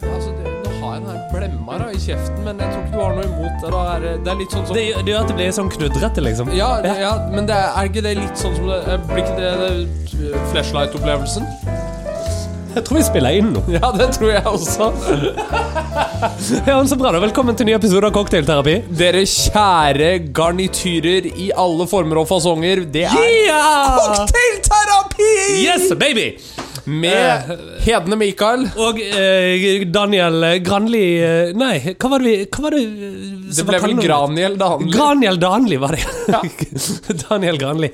altså, i kjeften, men jeg tror ikke du har noe imot det. Da er det, det er litt sånn som Det, gjør- det gjør at det blir sånn knudrete, liksom. ja, det, ja, men det er, er ikke det litt sånn som det eh, Blir ikke det, det eh, flashlight-opplevelsen? Jeg tror vi spiller inn nå. Ja, det tror jeg også. Ja, men så bra da, Velkommen til ny episode av Cocktailterapi. Dere kjære garnityrer i alle former og fasonger, det er Yeah! Cocktailterapi! Yes, baby! Med Hedne Mikael. Og eh, Daniel Granli eh, Nei, hva var det vi hva var det, eh, Det som var ble vel kallenavnet? Graniel, da. han- Graniel Danli var det. Daniel Granli.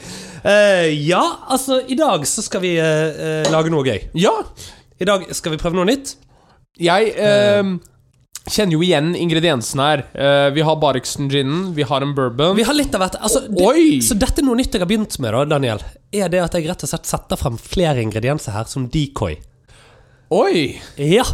Eh, ja, altså, i dag så skal vi eh, eh, lage noe gøy. Ja. I dag skal vi prøve noe nytt. Jeg eh, kjenner jo igjen ingrediensene her. Eh, vi har Barrickson-ginen, vi har en bourbon. Vi har litt av hvert altså, det, Oi! Så dette er noe nytt jeg har begynt med, da, Daniel. Er det at jeg rett og slett setter frem flere ingredienser her som decoy. Oi! Ja,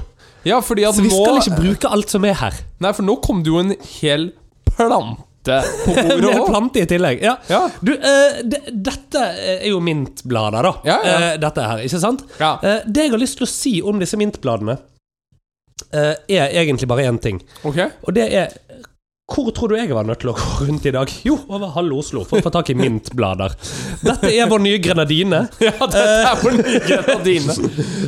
Ja, fordi at Så vi nå skal ikke bruke alt som er her. Nei, for nå kom det jo en hel plante på En bordet del òg. plante i tillegg. Ja. Ja. Du, eh, det, dette eh, er jo mintblader, da. Ja, ja. Eh, dette her, ikke sant? Ja. Eh, det jeg har lyst til å si om disse mintbladene, eh, er egentlig bare én ting. Ok. Og det er Hvor tror du jeg var nødt til å gå rundt i dag? Jo, over halve Oslo for å få tak i mintblader. Dette er vår nye grenadine. Ja, dette er for nye dine.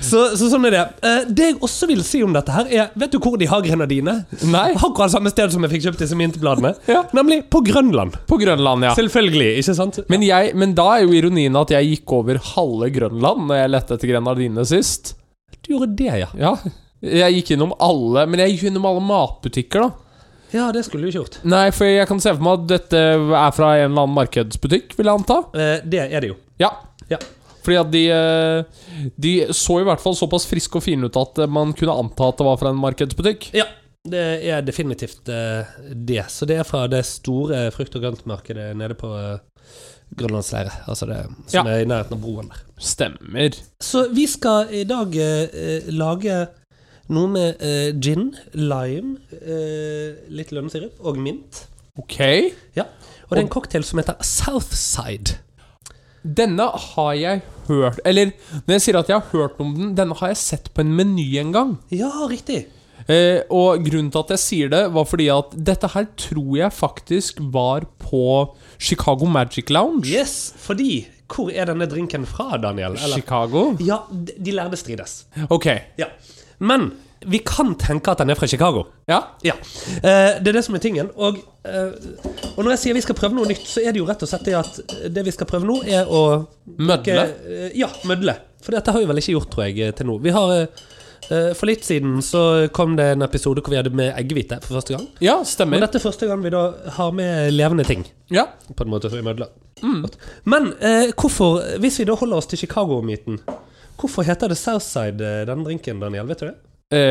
Så, så sånn er det. Eh, det jeg også vil si om dette her, er Vet du hvor de har grenadine? Nei. Akkurat samme sted som jeg fikk kjøpt disse mintbladene. Ja. Nemlig på Grønland. På Grønland, ja. Selvfølgelig, ikke sant? Men, jeg, men da er jo ironien at jeg gikk over halve Grønland Når jeg lette etter grenadinene sist. Du gjorde det, ja. Ja. Jeg gikk innom alle Men jeg gikk innom alle matbutikker, da. Ja, det skulle du ikke gjort. Nei, for jeg kan se for meg at dette er fra en eller annen markedsbutikk, vil jeg anta. Eh, det er det jo. Ja. Ja. Fordi at de eh, De så i hvert fall såpass friske og fine ut at eh, man kunne anta at det var fra en markedsbutikk. Ja, det er definitivt eh, det. Så det er fra det store frukt- og grøntmarkedet nede på eh, Grønlandsleiret. Altså det som Ja. er i nærheten av broen der. Stemmer. Så vi skal i dag eh, eh, lage noe med eh, gin, lime, eh, litt lønnsirup og mint. Ok. Ja. Og det er en cocktail som heter Southside. Denne har jeg hørt Eller når jeg sier at jeg har hørt om den, denne har jeg sett på en meny en gang. Ja, riktig. Eh, og grunnen til at jeg sier det, var fordi at dette her tror jeg faktisk var på Chicago Magic Lounge. Yes, fordi Hvor er denne drinken fra, Daniel? Eller? Chicago? Ja, d- de lærde strides. Ok. Ja. Men vi kan tenke at den er fra Chicago. Ja. Ja. Eh, det er det som er tingen. Og, eh, og når jeg sier vi skal prøve noe nytt, så er det jo rett og slett det at eh, det vi skal prøve nå, er å Mødle. Eh, Ja, mødle. For dette har vi vel ikke gjort, tror jeg, til nå. Vi har eh, eh, For litt siden så kom det en episode hvor vi hadde med eggehvite for første gang. Ja, Men stemmer. dette er første gang vi da har med levende ting, Ja. på en måte, i mødler. Men eh, hvorfor, hvis vi da holder oss til Chicago-myten Hvorfor heter det Southside, eh, den drinken, Daniel? Vet du det?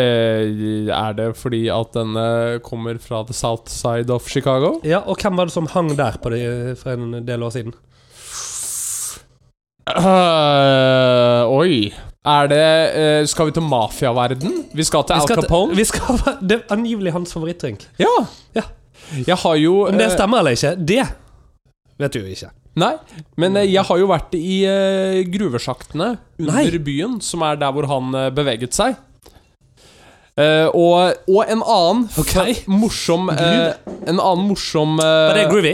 Eh, er det fordi at denne kommer fra the south side of Chicago? Ja, Og hvem var det som hang der på det eh, for en del år siden? Eh, oi. Er det eh, Skal vi til mafiaverden? Vi skal til Vi Al skal til- Capone? Vi skal, det er angivelig hans favorittdrink. Ja. Ja. Jeg har jo Om det eh, stemmer eller ikke, det vet du jo ikke. Nei, men eh, jeg har jo vært i eh, gruvesjaktene under Nei. byen, som er der hvor han eh, beveget seg. Eh, og, og en annen Ok. f- morsom eh, En annen morsom Var det eh, groovy?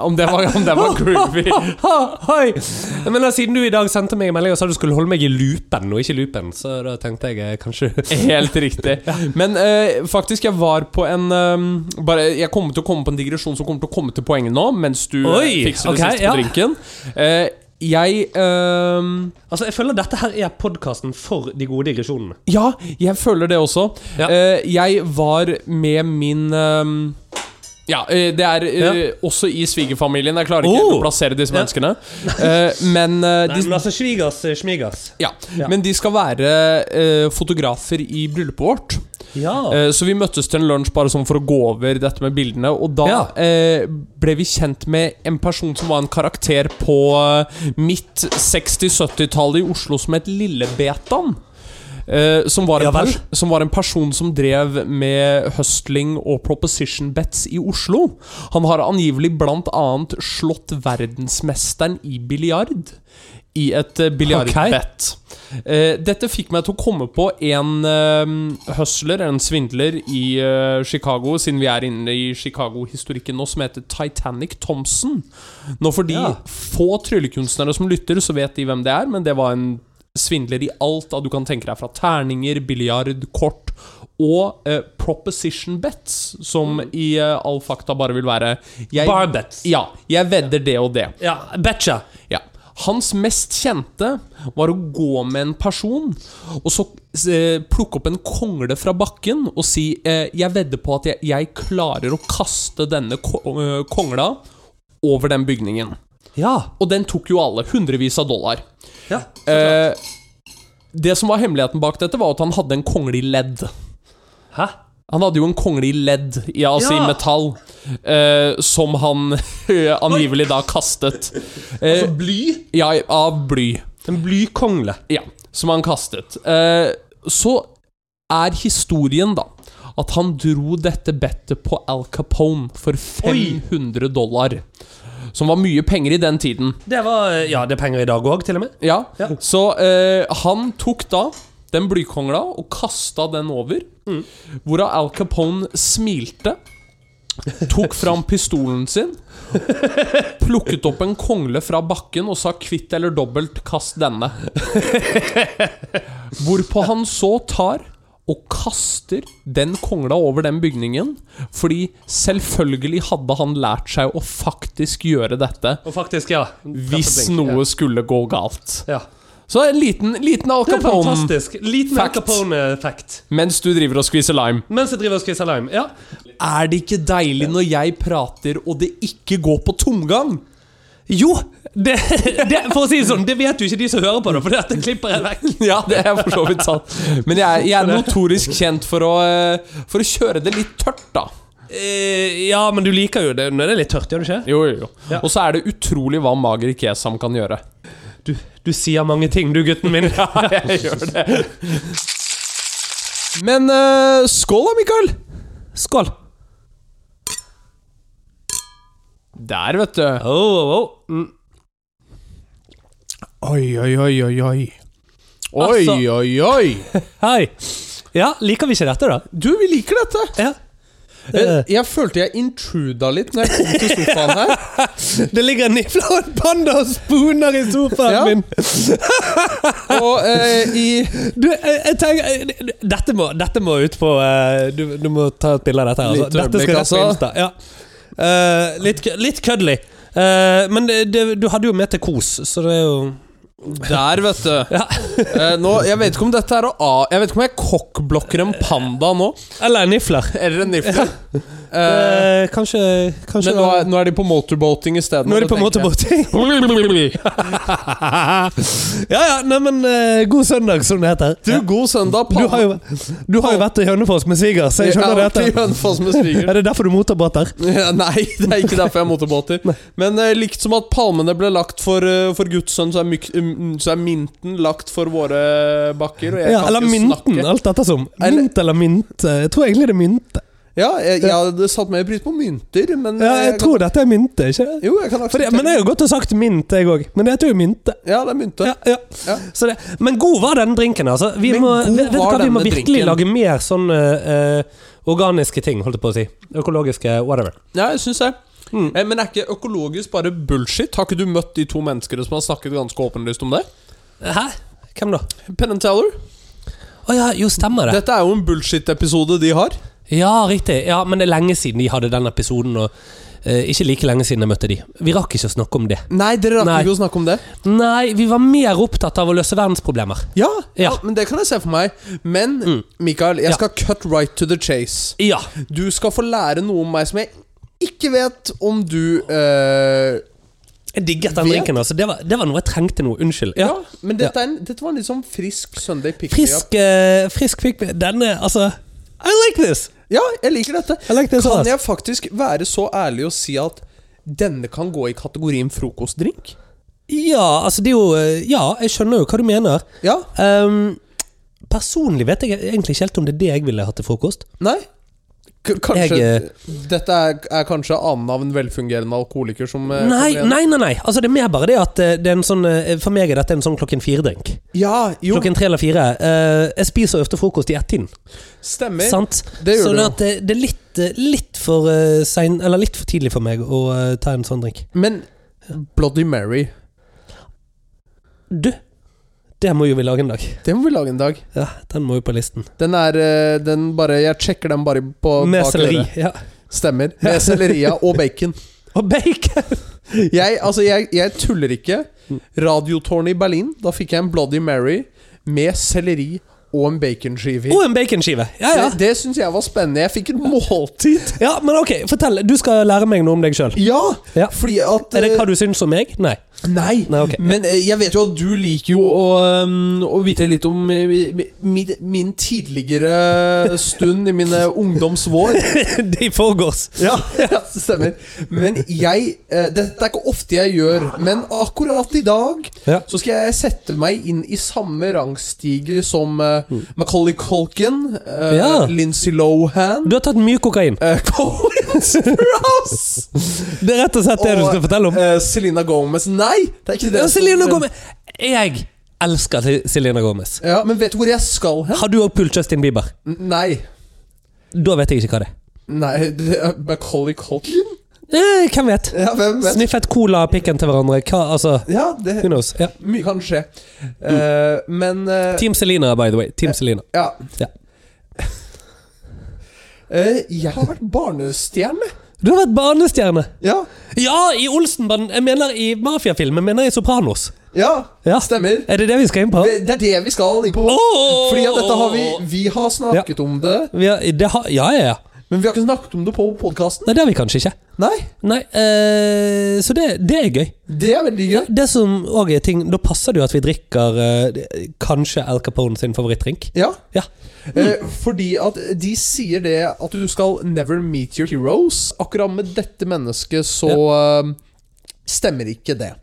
om, det var, om det var groovy. Hei! Jeg mener, siden du i dag sendte meg en melding og sa du skulle holde meg i loopen, og ikke loopen, så da tenkte jeg eh, kanskje Helt riktig. Men eh, faktisk, jeg var på en eh, bare, Jeg kommer til å komme på en digresjon som kommer til å komme til poenget nå, mens du eh, Oi, fikser det ok, siste ja. på drinken. Eh, jeg eh, Altså, jeg føler dette her er podkasten for de gode digresjonene. Ja, jeg føler det også. Ja. Eh, jeg var med min ehm, Ja, eh, det er eh, også i svigerfamilien. Jeg klarer ikke Oh! å plassere disse Ja. menneskene. Eh, men, eh, Nei, de, men altså, svigers, eh, smigers. ja. Ja. men de skal være eh, fotografer i bryllupet vårt. Ja. Eh, så vi møttes til en lunsj bare sånn for å gå over dette med bildene. Og da Ja. eh, ble vi kjent med en person som var en karakter på eh, midt 60-70-tallet i Oslo som het Lillebetan. Eh, som, var Ja en vel. pers- som var en person som drev med hustling og proposition bets i Oslo. Han har angivelig blant annet slått verdensmesteren i biljard i et eh, biljardbett. Eh, dette fikk meg til å komme på en eh, hustler, en svindler, i eh, Chicago, siden vi er inne i Chicago-historikken nå, som heter Titanic Thompson. Nå for de Ja. få tryllekunstnere som lytter, så vet de hvem det er, men det var en svindler i alt av du kan tenke deg, fra terninger, biljard, kort og eh, proposition bets, som i eh, all fakta bare vil være jeg, Barbets. Ja. Jeg vedder det og det. Ja, betcha. Ja. Hans mest kjente var å gå med en person og så eh, plukke opp en kongle fra bakken og si eh, 'Jeg vedder på at jeg, jeg klarer å kaste denne ko eh, kongla over den bygningen'. Ja. Og den tok jo alle. Hundrevis av dollar. ja. Eh, det som var hemmeligheten bak dette, var at han hadde en kongle i ledd. Hæ? Han hadde jo en kongle i ledd, i, altså Ja. i metall, eh, som han angivelig da kastet. Eh, Altså, bly? ja, av bly. En blykongle. Ja, som han kastet. Eh, så er historien, da, at han dro dette bettet på Al Capone for 500 dollar. Som var mye penger i den tiden. Det var eh, Ja, det er penger i dag òg, til og med. Ja, Ja. Så eh, han tok da den blykongla og kasta den over. Hvorav Al Capone smilte, tok fram pistolen sin, plukket opp en kongle fra bakken og sa 'kvitt eller dobbelt, kast denne'. Hvorpå han så tar og kaster den kongla over den bygningen, fordi selvfølgelig hadde han lært seg å faktisk gjøre dette Og faktisk, ja. hvis noe skulle gå galt. Ja. Så en liten, liten Al Det er Capone fantastisk. Liten Al Fact. Capone-fact. mens du driver og skviser lime. Mens jeg driver og skviser lime. Ja. Er det ikke deilig når jeg prater og det ikke går på tomgang? Jo! Det, det, for å si det sånn, det vet jo ikke de som hører på det, for dette klipper jeg vekk. Ja, det er for så vidt sant. Men jeg, jeg er notorisk kjent for å, eh, for å kjøre det litt tørt, da. Eh, ja, men du liker jo det når det er litt tørt, gjør du ikke? Jo, jo, jo. Ja. Og så er det utrolig hva mager kesam kan gjøre. Du, du sier mange ting, du, gutten min. Ja, jeg gjør det. Men eh, skål da, Mikael! Skål. Der, vet du. Oh, oh, oh. Mm. Oi, oi, oi, oi, oi. Oi, Altså- oi, oi. Hei. Ja, liker vi ikke dette, da? Du, vi liker dette. Ja. Jeg, Eh, jeg følte jeg intruda litt når jeg kom til sofaen her. Det ligger en nifla og en panda og spooner i sofaen Ja. min. Og eh, i Du, jeg, jeg tenker eh, Dette må, dette må ut på eh, du, du må ta et bilde av dette. her Litt altså. Dette øyeblikk, skal rett på altså. Insta. Ja. Eh, litt kø- litt køddelig. Eh, men det, det, du hadde jo med til kos, så det er jo Der, vet du. ja. Eh, nå, jeg vet ikke om dette er å a... Jeg vet ikke om jeg kokkblokker en panda nå. Eller en nifler. Eller en nifle. Eh, Eh, kanskje kanskje men nå er, nå er de på motorboating isteden. Nå er det på en måte båting. ja ja, neimen eh, god søndag, som det heter. Du, god søndag, Du panda. har, jo, du har jo vært i Hønefoss med svigers, så jeg skjønner Jeg er alltid i dette. Hønefoss med sviger. Er det derfor du motorbåter? Ja, nei, det er ikke derfor jeg er motorbåter. Men eh, likt som at palmene ble lagt for, eh, for Guds sønn, så er, myk, mm, så er mynten lagt for våre bakker. Og jeg Ja, kan eller ikke mynten, snakke. alt dette som. Eller- Mynt eller mynt. eh, Jeg tror egentlig det er mynte. Ja, jeg, jeg hadde satt mer pris på mynter, men Ja, kan- jeg tror dette er mynte, ikke det? Jo, jeg kan For det, akseptere men jeg har jo godt og sagt mint, jeg òg. Men det heter jo mynte. Ja, det er mynte. Ja, ja. Ja. Så det, men god var den drinken, altså. Vi Men må, god vet, vet du var hva, vi må denne virkelig drinken. lage mer sånn eh, eh, organiske ting, holdt jeg på å si. Økologiske whatever. Ja, jeg syns det. Mm. Eh, Men er ikke økologisk bare bullshit? Har ikke du møtt de to menneskene som har snakket ganske åpenlyst om det? Hæ? Hvem da? Penn and Teller. Å ja, jo, stemmer det. Dette er jo en bullshit-episode de har. Ja, riktig. Ja, Men det er lenge siden de hadde den episoden, og eh, ikke like lenge siden jeg møtte de. Vi rakk ikke å snakke om det. Nei, dere rakk Nei. ikke å snakke om det. Nei, vi var mer opptatt av å løse verdensproblemer. Ja, Ja. Mm. ja. Ah, men det kan jeg se for meg. Men Mikael, jeg Ja. skal cut right to the chase. Ja. Du skal få lære noe om meg som jeg ikke vet om du eh, Jeg digget den Vet- drinken. altså Det var, det var noe jeg trengte nå. Unnskyld. ja. Ja. men dette, er en, dette var en litt sånn frisk Sunday pick me up. Frisk, eh, frisk fikk vi Denne, altså I like this! Ja, jeg liker dette. Jeg like this a lot. Kan jeg faktisk være så ærlig og si at denne kan gå i kategorien frokostdrink? Ja, altså det er jo eh, Ja, jeg skjønner jo hva du mener. Ja? Ehm, personlig vet jeg egentlig ikke helt om det er det jeg ville hatt til frokost. Nei? K kanskje Jeg, Dette er, er kanskje annen av en velfungerende alkoholiker som eh, kommer Nei, igjen. nei, nei. nei. Altså, det er mer bare det at eh, det er en sånn, eh, for meg er dette en sånn klokken fire-drink. Ja, jo, Klokken tre eller fire. Eh, jeg spiser ofte frokost i ett-tiden. stemmer. Sant? Det gjør sånn du jo. at det, det er litt, eh, litt, for, eh, sein, eller litt for tidlig for meg å eh, ta en sånn drink. Men Bloody Mary, Du, det må jo vi lage en dag. det må vi lage en dag. Ja, Den må jo på listen. Den er eh, den bare Jeg sjekker den bare på Med bak selleri. øret. Ja. Stemmer. Med selleria og bacon. Og bacon! Jeg, altså, jeg, jeg tuller ikke. Radiotårnet i Berlin, da fikk jeg en Bloody Mary med selleri og en baconskive i. Og en baconskive. Ja, ja. Det, det syns jeg var spennende. Jeg fikk et måltid. ja, men ok, fortell. Du skal lære meg noe om deg sjøl. Ja! Ja. Fordi at eh, Er det hva du syns om meg? Nei. Nei, Nei, ok. men eh, jeg vet jo at du liker jo å, um, å vite litt om eh, mi- min, min tidligere stund i eh, mine ungdomsvår. De foregås. Ja, stemmer. Men jeg eh, Dette er ikke ofte jeg gjør, men akkurat i dag Ja. så skal jeg sette meg inn i samme rangstige som eh, Macaulay Culkin, eh, Ja. Lindsay Lohan Du har tatt mye kokain. eh, Colin Sprouse Det er rett og slett det du skal fortelle om. eh, Selena Gomez. Nei, det er ikke det. Ja, jeg skal- Selena men- Gomez. Jeg elsker Sel- Selena Gomez. Ja, Men vet du hvor jeg skal hen? Har du òg pult Justin Bieber? N- Nei. Da vet jeg ikke hva det er. Nei, det er Macaulay Culkin? Eh, hvem vet? Ja, hvem vet? Sniffet cola av pikken til hverandre. Hva, altså, Ja, who det, knows? Ja. mye kan skje. Mm. Eh, men eh, Team Selena, by the way. Team Selena. Ja. Ja. Eh, jeg har vært barnestjerne. Du har vært barnestjerne. Ja. Ja, i Olsenbanden. Jeg mener i mafiafilm. Jeg mener i Sopranos. ja. Ja. Stemmer. Er det det vi skal inn på? Det det er det vi skal inn på. Åh! Fordi at dette har vi Vi har snakket om det, Vi har, det har, ja, ja, ja. men vi har ikke snakket om det på podkasten. Nei, det har vi kanskje ikke. Nei, Nei, eh, Så det, det er gøy. det er veldig gøy. Det som også er ting Da passer det jo at vi drikker eh, kanskje Al Capone sin favorittdrink. Ja. Ja. Mm. Eh, fordi at de sier det at du skal never meet your heroes. Akkurat med dette mennesket så eh, stemmer ikke det.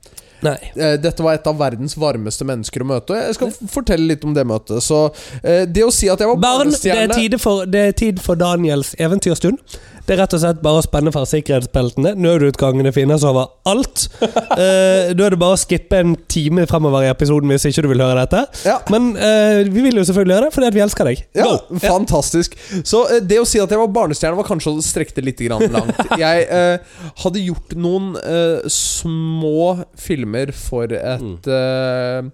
Nei. Eh, Dette var et av verdens varmeste mennesker å møte. og Jeg skal f- fortelle litt om det møtet. Så eh, det å si at jeg var Barn, det er, barnestjerne tide for, det er tid for Daniels eventyrstund. Det er rett og slett bare å spenne for sikkerhetsbeltene. Nødutgangene finnes over alt. Eh, da er det bare å skippe en time fremover i episoden hvis ikke du vil høre dette. Ja. Men eh, vi vil jo selvfølgelig gjøre det, fordi at vi elsker deg. ja, Go! fantastisk. Så eh, det å si at jeg var barnestjerne, var kanskje å strekke det litt grann langt. Jeg eh, hadde gjort noen eh, små filmer for et eh,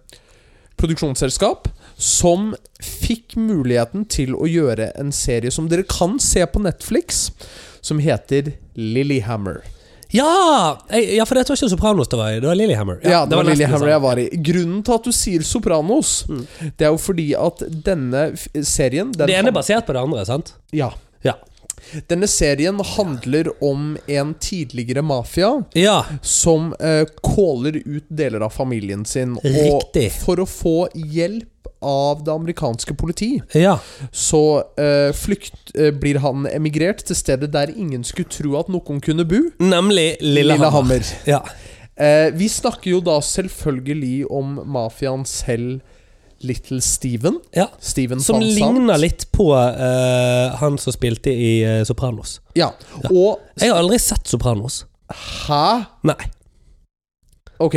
produksjonsselskap som fikk muligheten til å gjøre en serie som dere kan se på Netflix, som heter Lillehammer. Ja! Jeg, ja, for dette var ikke Sopranos det var i. Det var Lillehammer. Ja, det var Lily nesten Hammer det jeg samme. var i. Grunnen til at du sier Sopranos, det er jo fordi at denne f- serien den Det ene han- er basert på det andre, sant? ja. Ja. Denne serien handler om en tidligere mafia Ja. som eh, caller ut deler av familien sin. Riktig. Og for å få hjelp av det amerikanske politi, ja. så eh, flykt, eh, blir han emigrert til stedet der ingen skulle tro at noen kunne bo. Nemlig Lillehammer. Lillehammer. Ja. Eh, vi snakker jo da selvfølgelig om mafiaen selv, Little Steven. ja. Steven Som Van Mm, Sant. ligner litt på eh, han som spilte i eh, Sopranos. Ja. Og Jeg har aldri sett Sopranos. Hæ? Nei, Ok,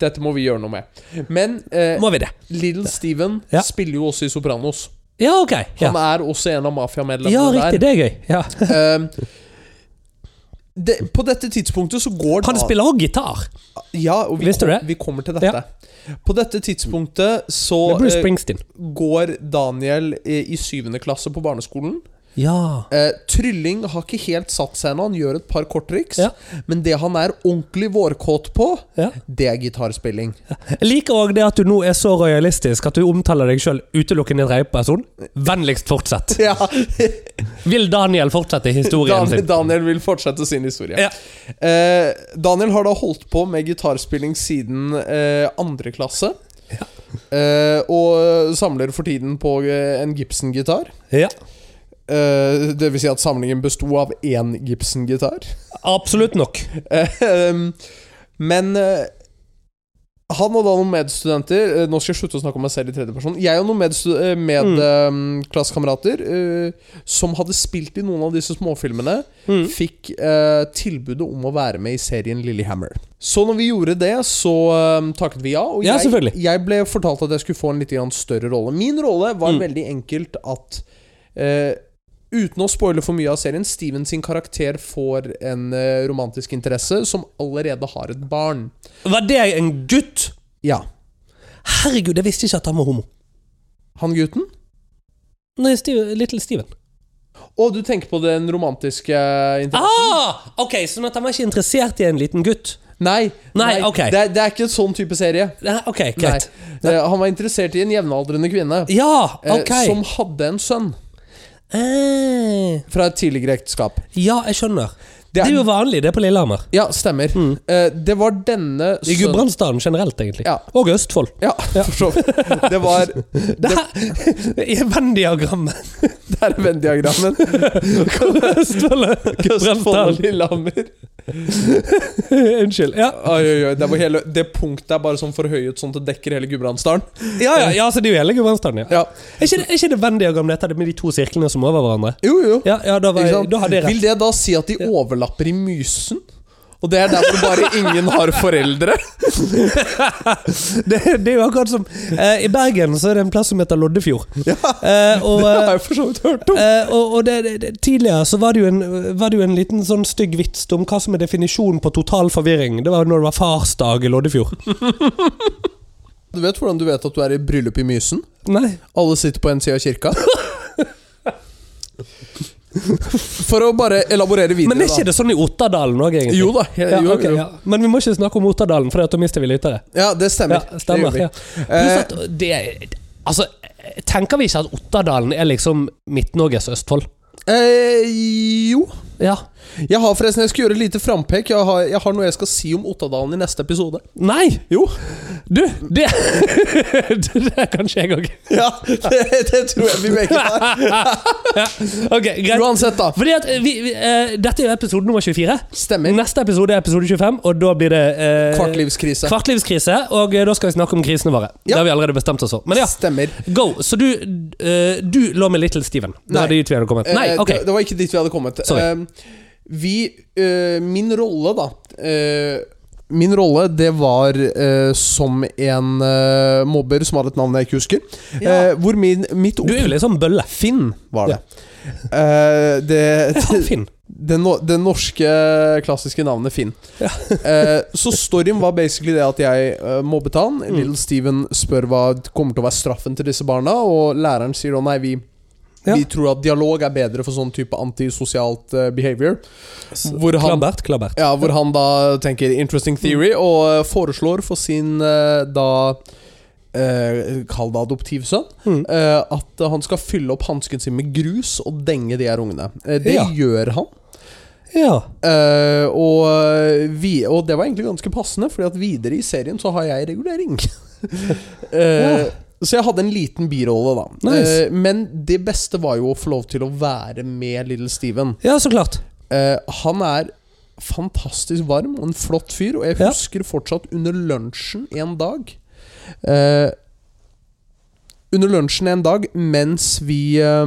dette må vi gjøre noe med. Men eh, må vi det? Little Steven Ja. spiller jo også i Sopranos. Ja, ok. Ja, Han er også en av ja mafiamedlemmene der. riktig. Det er gøy. Ja. Eh, det, på dette tidspunktet så går Han da- spiller også gitar. Ja, og vi, Visste du kom, det? vi kommer til dette. På dette tidspunktet så Det er Bruce eh, Springsteen. går Daniel eh, i syvende klasse på barneskolen. Ja. Eh, Trylling har ikke helt satt seg ennå. Han gjør et par korttriks. Ja. Men det han er ordentlig vårkåt på, Ja. det er gitarspilling. Jeg liker òg det at du nå er så royalistisk at du omtaler deg sjøl utelukkende i tredjeperson. Vennligst fortsett. Ja. Vil Daniel fortsette historien Dan sin? Daniel vil fortsette sin historie. Ja. Eh, Daniel har da holdt på med gitarspilling siden eh, andre klasse. Eh, og samler for tiden på eh, en Gibson-gitar. ja. Eh, det vil si at samlingen besto av én Eh, Gibson-gitar. Absolutt nok. Eh, men eh, Han og da noen medstudenter eh, Nå skal jeg slutte å snakke om meg selv i tredjeperson. Jeg og noen medklassekamerater med, Mm. eh, klassekamerater, eh, som hadde spilt i noen av disse småfilmene, Mm. fikk eh, tilbudet om å være med i serien Lillehammer. Så når vi gjorde det, så eh, takket vi ja. Og Ja, jeg, selvfølgelig. jeg ble fortalt at jeg skulle få en litt grann større rolle. Min rolle var Mm. veldig enkelt at eh, Uten å spoile for mye av serien, Steven sin karakter får en eh, romantisk interesse som allerede har et barn. Var det en gutt? Ja. Herregud, jeg visste ikke at han var homo. Han gutten? Nei, Steven, Little Steven. Å, du tenker på den romantiske inter... Ah, ok, Sånn at han var ikke interessert i en liten gutt? Nei, Nei, ok. det, er, det er ikke en sånn type serie. Nei, Ok, greit. Nei. Eh, Han var interessert i en jevnaldrende kvinne Ja, eh, ok. som hadde en sønn eh, fra et tidligere ekteskap. ja, jeg skjønner. Det er- Det er jo vanlig, det er på Lillehammer. Ja, stemmer. Mm. Eh, Det var denne I sønnen- Gudbrandsdalen generelt, egentlig. Ja. Og Østfold. Ja, for så vidt. Det var Det her I Venn-diagrammet! Det er Venn-diagrammen. Østfold og Østfold og Gudbrandsdalen. Lillehammer. Unnskyld. Ja. Oi, oi, oi. Det, var hele, det punktet er bare sånn forhøyet sånn at det dekker hele Gudbrandsdalen. Ja, ja, ja, så det er jo hele Gudbrandsdalen, Ja. ja. Er ikke det, er ikke det Venn-diagrammet dette med de to sirklene som er over hverandre? Jo, jo. Ja, ja da, var, Ikke jeg- sant? da hadde jeg rett. Vil det da si at de overlapper i mysen? Og det er derfor bare ingen har foreldre? Det, det er jo akkurat som eh, I Bergen så er det en plass som heter Loddefjord. Eh, og, Det eh, har jeg for så vidt hørt om. eh, og, og det, det, det, Tidligere så var det, jo en, var det jo en liten sånn stygg vits om hva som er definisjonen på total forvirring. Det var når det var farsdag i Loddefjord. eh, Du vet hvordan du vet at du er i bryllup i Mysen? Nei. Alle sitter på en side av kirka. For å bare elaborere videre, Men er ikke det sånn i Otterdalen òg, da. egentlig? Jo da. he- Ja, jo, ok, jo. ja. Men vi må ikke snakke om Otterdalen, for da mister vi lyttere. ja, det stemmer. Ja, Det stemmer. gjør vi. Ja. Pluss at det Altså, tenker vi ikke at Otterdalen er liksom Midt-Norges Østfold? Eh, jo. Ja. Jeg har forresten, jeg skal gjøre et lite frampek. Jeg har, jeg har noe jeg skal si om Ottadalen i neste episode. Nei! Jo. Du, det Det er kanskje jeg òg. Ja, det, det tror jeg vi begge har. Ok, greit. Uansett, da. Fordi at vi, vi, eh, Dette er jo episode nummer 24. Stemmer. Neste episode er episode 25, og da blir det eh, Kvartlivskrise. kvartlivskrise. Og eh, da skal vi snakke om krisene våre. Ja. Det har vi allerede bestemt oss for. Men ja, Stemmer. go! Så du, eh, du lå med Little Steven. Det Nei. var dit vi hadde kommet. Nei, Eh, ok. det, det var ikke dit vi hadde kommet. Sorry. Eh, vi eh, Min rolle, da eh, Min rolle, det var eh, som en eh, mobber som hadde et navn jeg ikke husker. Eh, hvor min, mitt Du er jo litt sånn bølle. Finn. var det. Eh, det, Ja, det, Finn. det, no, det norske klassiske navnet Finn. Ja. Eh, så storyen var basically det at jeg eh, mobbet han. Mm. Little Steven spør hva kommer til å være straffen til disse barna, og læreren sier å nei, vi Ja. Vi tror at dialog er bedre for sånn type antisosialt eh, behavior. Hvor han, Klabbert. Klabbert. ja, hvor han da tenker 'interesting theory' Mm. og eh, foreslår for sin eh, da eh, Kall det adoptivsønn. Mm. eh, at han skal fylle opp hansken sin med grus og denge de her ungene. Eh, det Ja. gjør han. Ja. Eh, og, vi, og det var egentlig ganske passende, Fordi at videre i serien så har jeg regulering. Eh, Så jeg hadde en liten birolle, da. Nice. Eh, men det beste var jo å få lov til å være med Little Steven. ja, så klart. Eh, han er fantastisk varm og en flott fyr, og jeg Ja. husker fortsatt under lunsjen en dag eh, Under lunsjen en dag mens vi eh,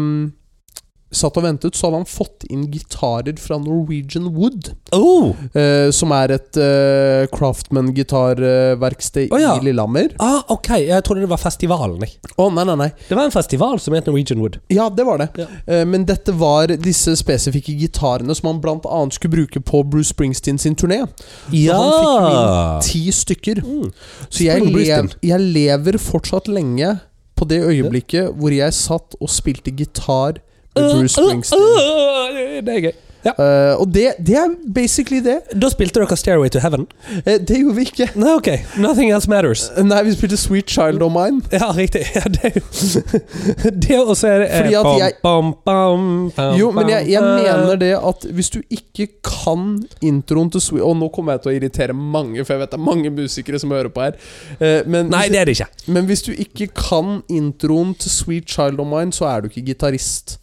satt og ventet, så hadde han fått inn gitarer fra Norwegian Wood, Oh. eh, som er et eh, Craftman-gitarverksted Å, ja. i Lillehammer. Ah, ok, jeg trodde det var festivalen. Jeg. Å, nei, nei, nei. Det var en festival som het Norwegian Wood. Ja, det var det. Ja. Eh, Men dette var disse spesifikke gitarene som han blant annet skulle bruke på Bruce Springsteen sin turné. Så han fikk jo inn ti stykker. Så jeg, Spring lev, Brisbane. jeg lever fortsatt lenge på det øyeblikket hvor jeg satt og spilte gitar Øh, med Uh, Bruce Springsteen. det er gøy. Ja. Eh, og det, det er basically det. Da spilte dere Stairway to Heaven. Eh, det gjorde vi ikke. Nei, ok. Nothing else matters. Nei, vi spilte Sweet Child of Mine. Ja, riktig. Ja, det, det og så er det eh, Fordi at jeg- bam, bam, bam, Jo, men jeg, jeg bam, mener det at hvis du ikke kan introen til Sweet Og nå kommer jeg til å irritere mange, for jeg vet det er mange musikere som hører på her. Eh, men, Nei, det er det ikke. men hvis du ikke kan introen til Sweet Child of Mine, så er du ikke gitarist.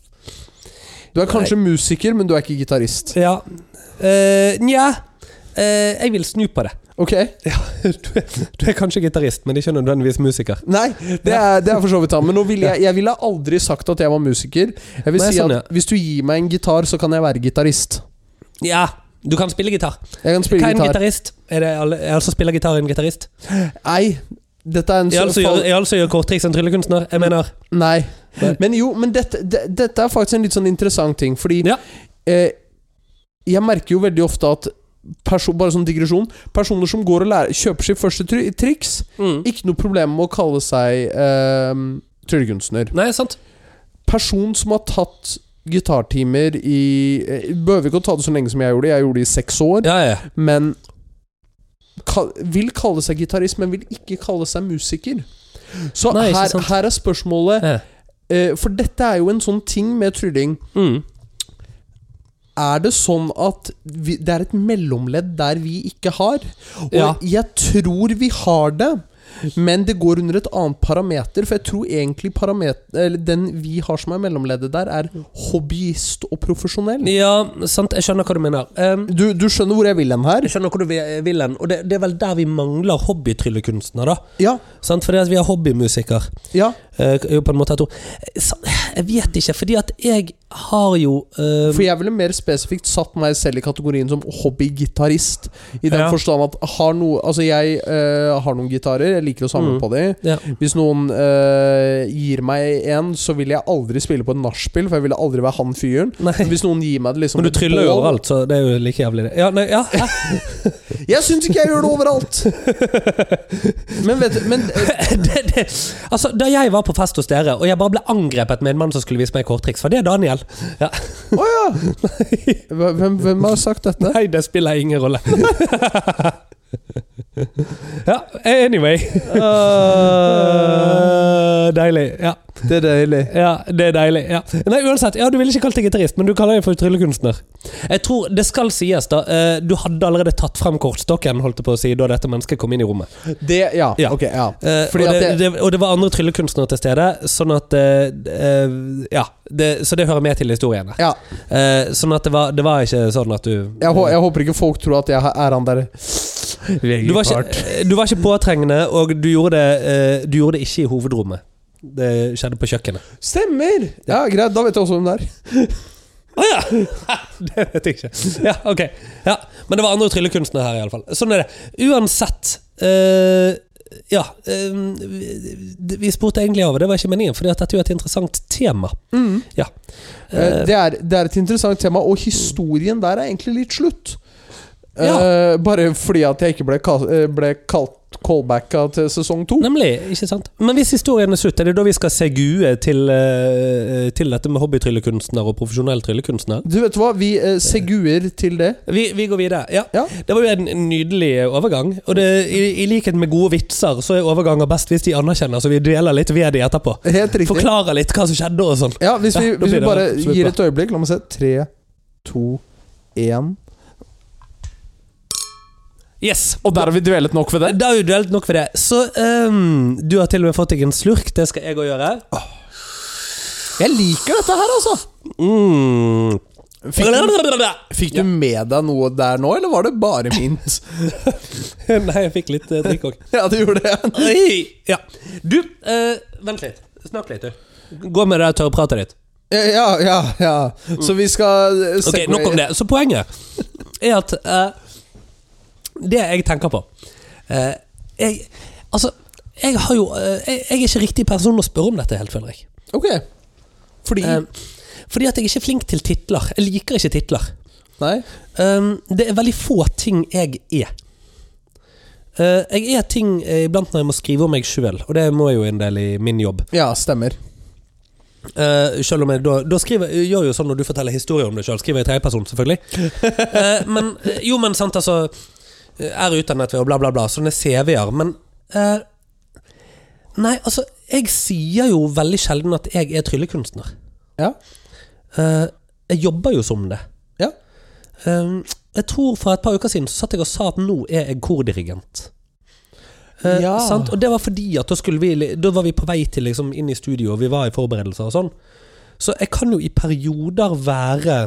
Du er kanskje musiker, men du er ikke gitarist. Ja. Eh, Nja. Eh, jeg vil snu på det. Ok. Du er, du er kanskje gitarist, men ikke nødvendigvis musiker. Nei, det er, det er for så vidt sant. Men nå vil jeg, jeg ville aldri sagt at jeg var musiker. Jeg vil Nei, si sånn, ja. at hvis du gir meg en gitar, så kan jeg være gitarist. Ja, du kan spille gitar. Jeg kan Hva spille er en gitar. gitarist? Er det alle, er altså spiller gitar en gitarist? Nei, dette er en Jeg så- altså gjør, jeg altså gjør korttriks en tryllekunstner. Jeg mener Nei. Nei. Men jo, men dette, det, dette er faktisk en litt sånn interessant ting, fordi Ja. eh, Jeg merker jo veldig ofte at perso Bare sånn digresjon. Personer som går og lærer, kjøper sitt første tri triks, Mm. ikke noe problem med å kalle seg eh, tryllekunstner. Nei, sant? Person som har tatt gitartimer i eh, Behøver ikke å ta det så lenge som jeg gjorde, jeg gjorde det i seks år, Ja, ja. men kal vil kalle seg gitarist, men vil ikke kalle seg musiker. Så Nei, ikke her, sant. her er spørsmålet ja. Eh, For dette er jo en sånn ting med trylling. Mm. Er det sånn at vi, det er et mellomledd der vi ikke har? Og Ja. jeg tror vi har det, men det går under et annet parameter. For jeg tror egentlig paramet- eller den vi har som er mellomleddet der, er hobbyist og profesjonell. ja, sant. Jeg skjønner hva du mener. Ehm, Du, du skjønner hvor jeg vil hen her? jeg skjønner hvor du vi- vil hen. Og det, det er vel der vi mangler hobbytryllekunstner, da. Ja. Sant? Fordi at vi har hobbymusiker. ja Eh, er jo på en måte et ord. Eh, sa- Jeg vet ikke, fordi at jeg har jo eh, For jeg ville mer spesifikt satt meg selv i kategorien som hobbygitarist. I den Ja. forstand at har noe, altså jeg eh, har noen gitarer, jeg liker å samle Mm. på dem. ja. Hvis noen eh, gir meg en, så vil jeg aldri spille på et nachspiel, for jeg ville aldri være han fyren. Men Nei. Hvis noen gir meg det liksom Men et du tryller jo bål- overalt, så det er jo like jævlig, det. Ja, nei, ja. Jeg syns ikke jeg gjør det overalt! men vet du men, eh, det, det. Altså, da jeg var på fest hos dere, og jeg bare ble angrepet med en mann som skulle vise meg korttriks, var det Daniel? Ja. hvem, hvem har sagt dette? Nei, det spiller ingen rolle. ja, anyway. Ah. Eh, deilig. Ja. Det er deilig. ja, det er deilig. Ja. Nei, uansett, ja, Du ville ikke kalt deg gitarist, men du kaller deg for tryllekunstner. Jeg tror det skal sies, da. eh, Du hadde allerede tatt frem kortstokken holdt jeg på å si, da dette mennesket kom inn i rommet. Det, ja, Ja. ok. Ja. Eh, Fordi og, at det, det, og det var andre tryllekunstnere til stede, sånn at eh, eh, Ja. Det, så det hører med til historien. her. ja. Eh, sånn at det var, det var ikke sånn at du Jeg, hå- jeg håper ikke folk tror at jeg er han der du var, ikke, eh, du var ikke påtrengende, og du gjorde, det, eh, du gjorde det ikke i hovedrommet. Det skjedde på kjøkkenet. Stemmer! Ja, greit, da vet jeg også hvem det er. Å ja! Det vet jeg ikke. Ja, ok. Ja. Men det var andre tryllekunstnere her, iallfall. Sånn er det. Uansett eh, Ja. eh, vi, vi spurte egentlig over, det var ikke meningen, for dette er jo et interessant tema. Ja. Mm. Eh, Det er, det er et interessant tema, og historien der er egentlig litt slutt. Ja. Eh, bare fordi at jeg ikke ble, ka- eh, ble kalt callbacka til sesong to. Nemlig, ikke sant? Men hvis historien er slutt, er det da vi skal segue til, eh, til dette med hobbytryllekunstner og profesjonell tryllekunstner? Du vet hva, vi eh, seguer til det. Vi, vi går videre. Ja. Ja. Det var jo en nydelig overgang. Og det, i, i likhet med gode vitser, så er overganger best hvis de anerkjenner, så vi deler litt ved de etterpå. Helt riktig. Forklarer litt hva som skjedde og sånn. Ja, hvis vi, Ja, da hvis blir vi det bare absolutt gir bra. et øyeblikk. La meg se. Tre, to, én Yes. Og der har vi dvelet nok ved det. Da har vi delt nok ved det. Så ehm, du har til og med fått deg en slurk. Det skal jeg òg gjøre. Jeg liker dette her, altså! Mm. Fikk du med deg noe der nå, eller var det bare mint? Nei, jeg fikk litt eh, drikk òg. ja, det gjorde det. Oi! Ja. Du, eh, vent litt. Snakk litt, du. Gå med det der tørrpratet ditt. Ja, ja, ja. Så vi skal eh, Ok, segue- nok om det. Så poenget er at eh, Det jeg tenker på eh, Jeg Altså, jeg har jo eh, jeg, jeg er ikke riktig person å spørre om dette helt, føler jeg. Ok. Fordi Eh, fordi at jeg er ikke flink til titler. Jeg liker ikke titler. Nei? Um, det er veldig få ting jeg er. Eh, jeg er ting eh, iblant når jeg må skrive om meg sjøl, og det må jeg jo en del i min jobb. Ja, stemmer. Eh, selv om jeg da, da skriver, jeg gjør jo sånn når du forteller historier om deg sjøl. Skriver jeg i tredjeperson, selvfølgelig. Eh, men eh, jo, men sant, altså eh, Er utdannet ved og bla, bla, bla. Sånne CV-er. Men eh, Nei, altså, jeg sier jo veldig sjelden at jeg er tryllekunstner. Ja. Eh, jeg jobber jo som det. Ja. Eh, jeg tror for et par uker siden så satt jeg og sa at nå er jeg kordirigent. Eh, Ja. sant? Og det var fordi at da, skulle vi, li- da var vi på vei til liksom, inn i studio, og vi var i forberedelser og sånn. Mm. Så jeg kan jo i perioder være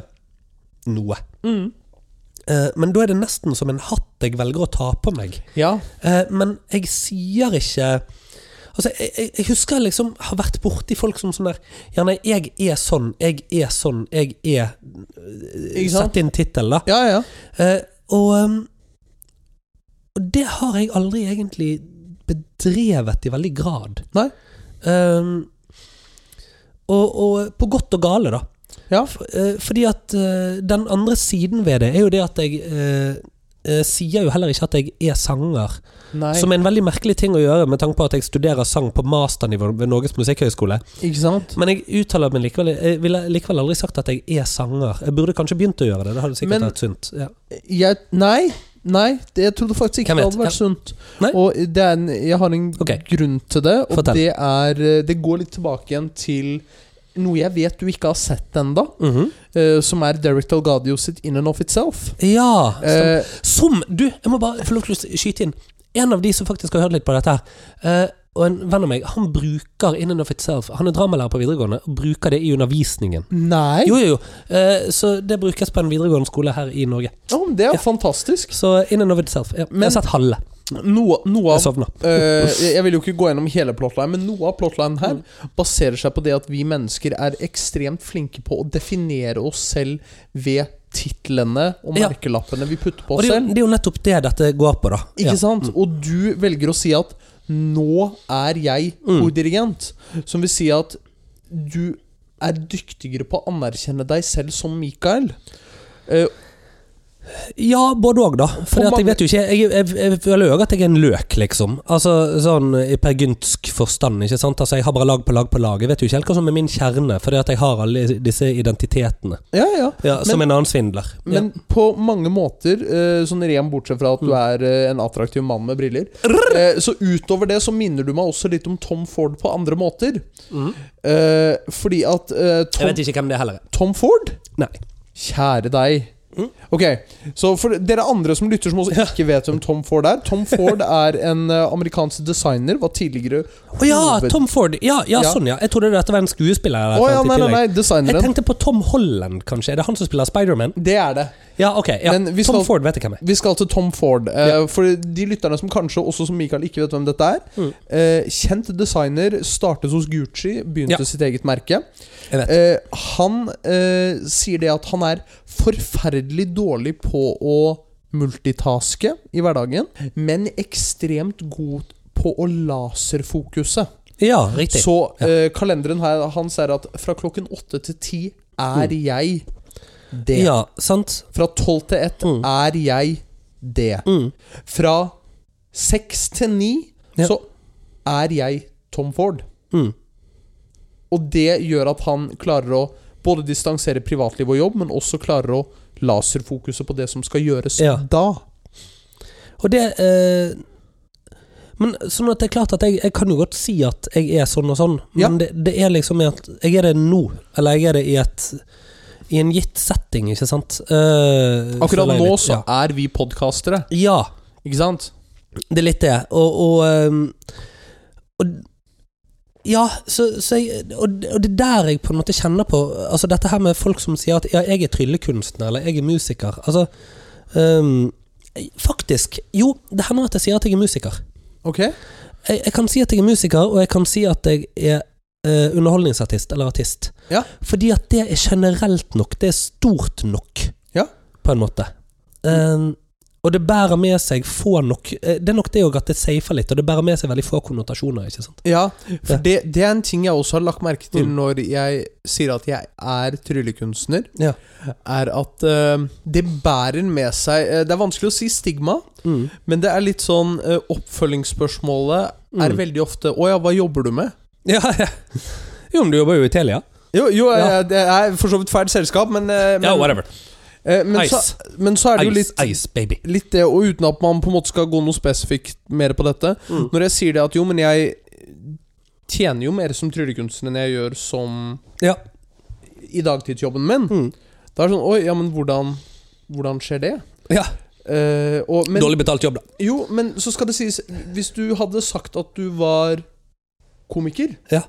noe. Eh, Men da er det nesten som en hatt jeg velger å ta på meg. Ja. Eh, Men jeg sier ikke Altså, jeg, jeg, jeg husker jeg liksom har vært borti folk som sånn der Ja, nei, jeg er sånn, jeg er sånn, jeg er Ikke sant? Sett inn tittel, da. Ja, ja. Eh, og, ehm, og det har jeg aldri egentlig bedrevet i veldig grad. Nei. Ehm, og, og på godt og gale, da. Ja. F- eh, fordi at eh, den andre siden ved det er jo det at jeg eh, eh, sier jo heller ikke at jeg er sanger. Nei. Som er en veldig merkelig ting å gjøre med tanke på at jeg studerer sang på masternivå ved Norges musikkhøgskole. Ikke sant? Men jeg uttaler meg likevel Jeg ville likevel aldri sagt at jeg er sanger. Jeg burde kanskje begynt å gjøre det. Det hadde sikkert Men- vært sunt. Ja. Jeg Nei. Nei, det jeg trodde faktisk ikke Hvem det vet? hadde vært sunt. Nei. Og det er en, jeg har en Ok. grunn til det, og Fortell. det er eh, Det går litt tilbake igjen til noe jeg vet du ikke har sett ennå, Mhm. som er Derek Delgadio sitt In and of Itself. Ja. stemmer. Eh, Som Du, jeg må bare få lov til å skyte inn. En av de som faktisk har hørt litt på dette her, eh, og en venn av meg, han bruker in and of itself Han er dramalærer på videregående og bruker det i undervisningen. nei Jo, jo, jo. Eh, så det brukes på en videregående skole her i Norge. Ja, men Det er Ja. fantastisk. Så in and of itself. Ja. jeg Men- har sett halve. Noe, noe Jeg av sovna. Eh, jeg jeg vil jo ikke gå gjennom hele plotline, men noe av plotline her Mm. baserer seg på det at vi mennesker er ekstremt flinke på å definere oss selv ved titlene og Ja. merkelappene vi putter på Og oss det er, selv. jo, det er jo nettopp det dette går på, da. Ikke Ja. sant? Og du velger å si at 'nå er jeg Mm. kordirigent', som vil si at du er dyktigere på å anerkjenne deg selv som Mikael. Eh, Ja, både òg, da. For Hvor at jeg mange- vet jo ikke Jeg, jeg, jeg føler jo også at jeg er en løk, liksom. Altså Sånn i Per Gyntsk forstand. Ikke sant? Altså Jeg har bare lag på lag på lag. Jeg vet jo ikke helt hva som er min kjerne, fordi at jeg har alle disse identitetene. ja, ja. Ja, som en annen svindler. Men på mange måter, eh, sånn ren bortsett fra at du Mm. er eh, en attraktiv mann med briller eh, Så utover det så minner du meg også litt om Tom Ford på andre måter. Eh, fordi at eh, ja. Mm. Jeg Tom, vet ikke hvem det er heller. Tom Ford Nei. Kjære deg. Mm. Ok, så for dere andre som lytter som også ikke vet hvem Tom Ford er Tom Ford er en eh, amerikansk designer, var tidligere Å ja, Tom Ford. Ja, ja, Ja. sånn, ja. Jeg trodde dette var en skuespiller. Å Eller ja, nei, nei, noe nei, i tillegg. jeg designeren. tenkte på Tom Holland, kanskje. Er det han som spiller Spiderman? Det er det. Ja, ok. Ja. Men vi skal- Tom Ford vet jeg hvem er. Vi skal til Tom Ford. Eh, For de lytterne som kanskje også som Michael ikke vet hvem dette er. Mm. Eh, kjent designer, startet hos Gucci, begynte Ja. sitt eget merke. Jeg vet. Eh, han eh, sier det at han er forferdelig dårlig på å multitaske i hverdagen, men ekstremt god på å laserfokuse. Ja, riktig. Så eh, kalenderen her hans er at fra klokken åtte til ti er jeg det. Mm. Ja, sant? Fra tolv til ett Mm. er jeg det. Mm. Fra seks til ni Ja. så er jeg Tom Ford. Mm. Og det gjør at han klarer å både distansere privatliv og jobb, men også klarer å laserfokuset på det som skal gjøres Ja. da. Og det eh, Men sånn at det er klart at jeg, jeg kan jo godt si at jeg er sånn og sånn, Ja. men det, det er liksom med at jeg er det nå, eller jeg er det i et i en gitt setting, ikke sant? Eh, Akkurat føler jeg nå litt, så er vi podkastere, ja. ja. ikke sant? Det er litt det. Og, og, ehm, og Ja, så, så jeg, og, det- og det er der jeg på en måte kjenner på Altså Dette her med folk som sier at ja, jeg er tryllekunstner, eller jeg er musiker. Altså ehm, Faktisk. Jo, det hender at jeg sier at jeg er musiker. Ok? Jeg, jeg kan si at jeg er musiker, og jeg kan si at jeg er eh, underholdningsartist eller artist. Ja. Fordi at det er generelt nok. Det er stort nok, Ja. på en måte. Ehm, og det bærer med seg få nok eh, Det er nok det òg at det safer litt, og det bærer med seg veldig få konnotasjoner. ikke sant? Ja, for Ja. det, det er en ting jeg også har lagt merke til Mm. når jeg sier at jeg er tryllekunstner, Ja. er at eh, det bærer med seg eh, Det er vanskelig å si stigma, men det er litt sånn eh, Oppfølgingsspørsmålet er Mm. veldig ofte 'Å ja, hva jobber du med?' Ja, ja. Jo, men du jobber jo i Telia. Jo, jo jeg- Ja. jeg er for så vidt feil selskap, men, eh, men, Ja, whatever. eh, men, så, Ice. men så er det jo Ice, litt ice, baby. litt det, og uten at man på en måte skal gå noe spesifikt mer på dette Mm. Når jeg sier det at jo, men jeg tjener jo mer som tryllekunstner enn jeg gjør som Ja. i dagtidsjobben min. Mm. Da er det sånn Oi, ja, men hvordan, hvordan skjer det? ja. Eh, og, men, Dårlig betalt jobb, da. Jo, men så skal det sies Hvis du hadde sagt at du var komiker Ja.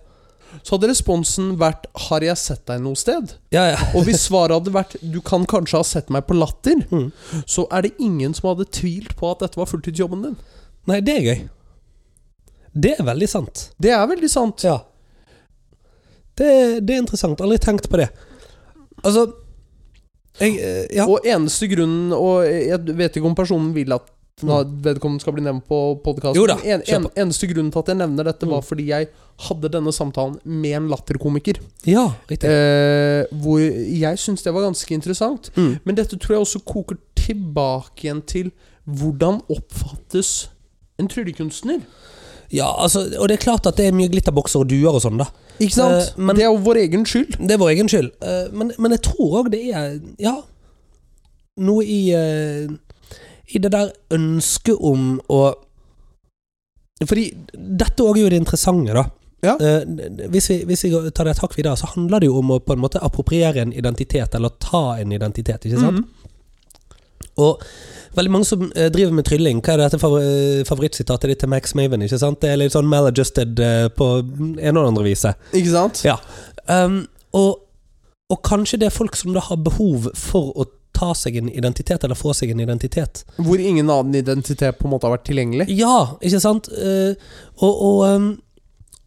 så hadde responsen vært 'Har jeg sett deg noe sted?' Ja, ja. Og hvis svaret hadde vært 'Du kan kanskje ha sett meg på Latter', Mm. så er det ingen som hadde tvilt på at dette var fulltidsjobben din. Nei, det er gøy. Det er veldig sant. Det er veldig sant. Ja. Det, det er interessant. Aldri tenkt på det. Altså jeg, eh, Ja. Og eneste grunnen Og jeg vet ikke om personen vil at den har- vedkommende skal bli nevnt på podkasten. Mm. Jo da, en, kjør Mm. en, eneste grunnen til at jeg nevner dette, var fordi jeg hadde denne samtalen med en latterkomiker. Ja, riktig. Eh, hvor jeg syns det var ganske interessant. Mm. Men dette tror jeg også koker tilbake igjen til hvordan oppfattes en tryllekunstner. Ja, altså, og det er klart at det er mye glitterbokser og duer og sånn, da. Ikke sant? Eh, men- det er jo vår egen skyld. Det er vår egen skyld. Eh, Men, men jeg tror òg det er Ja. Noe i eh, I det der ønsket om å Fordi dette òg er jo det interessante, da. Ja. Eh, Hvis, vi, hvis vi tar det et hakk videre, så handler det jo om å på en måte appropriere en identitet, eller ta en identitet, ikke sant? Mhm. Og veldig mange som eh, driver med trylling Hva er dette favor eh, favorittsitatet ditt til Max Maven? ikke sant? Det er litt sånn maladjusted eh, på en og den andre viset. Ikke sant? Ja. Um, og, og kanskje det er folk som da har behov for å ta seg en identitet, eller få seg en identitet. Hvor ingen annen identitet på en måte har vært tilgjengelig. Ja, ikke sant? Eh, og, og, um,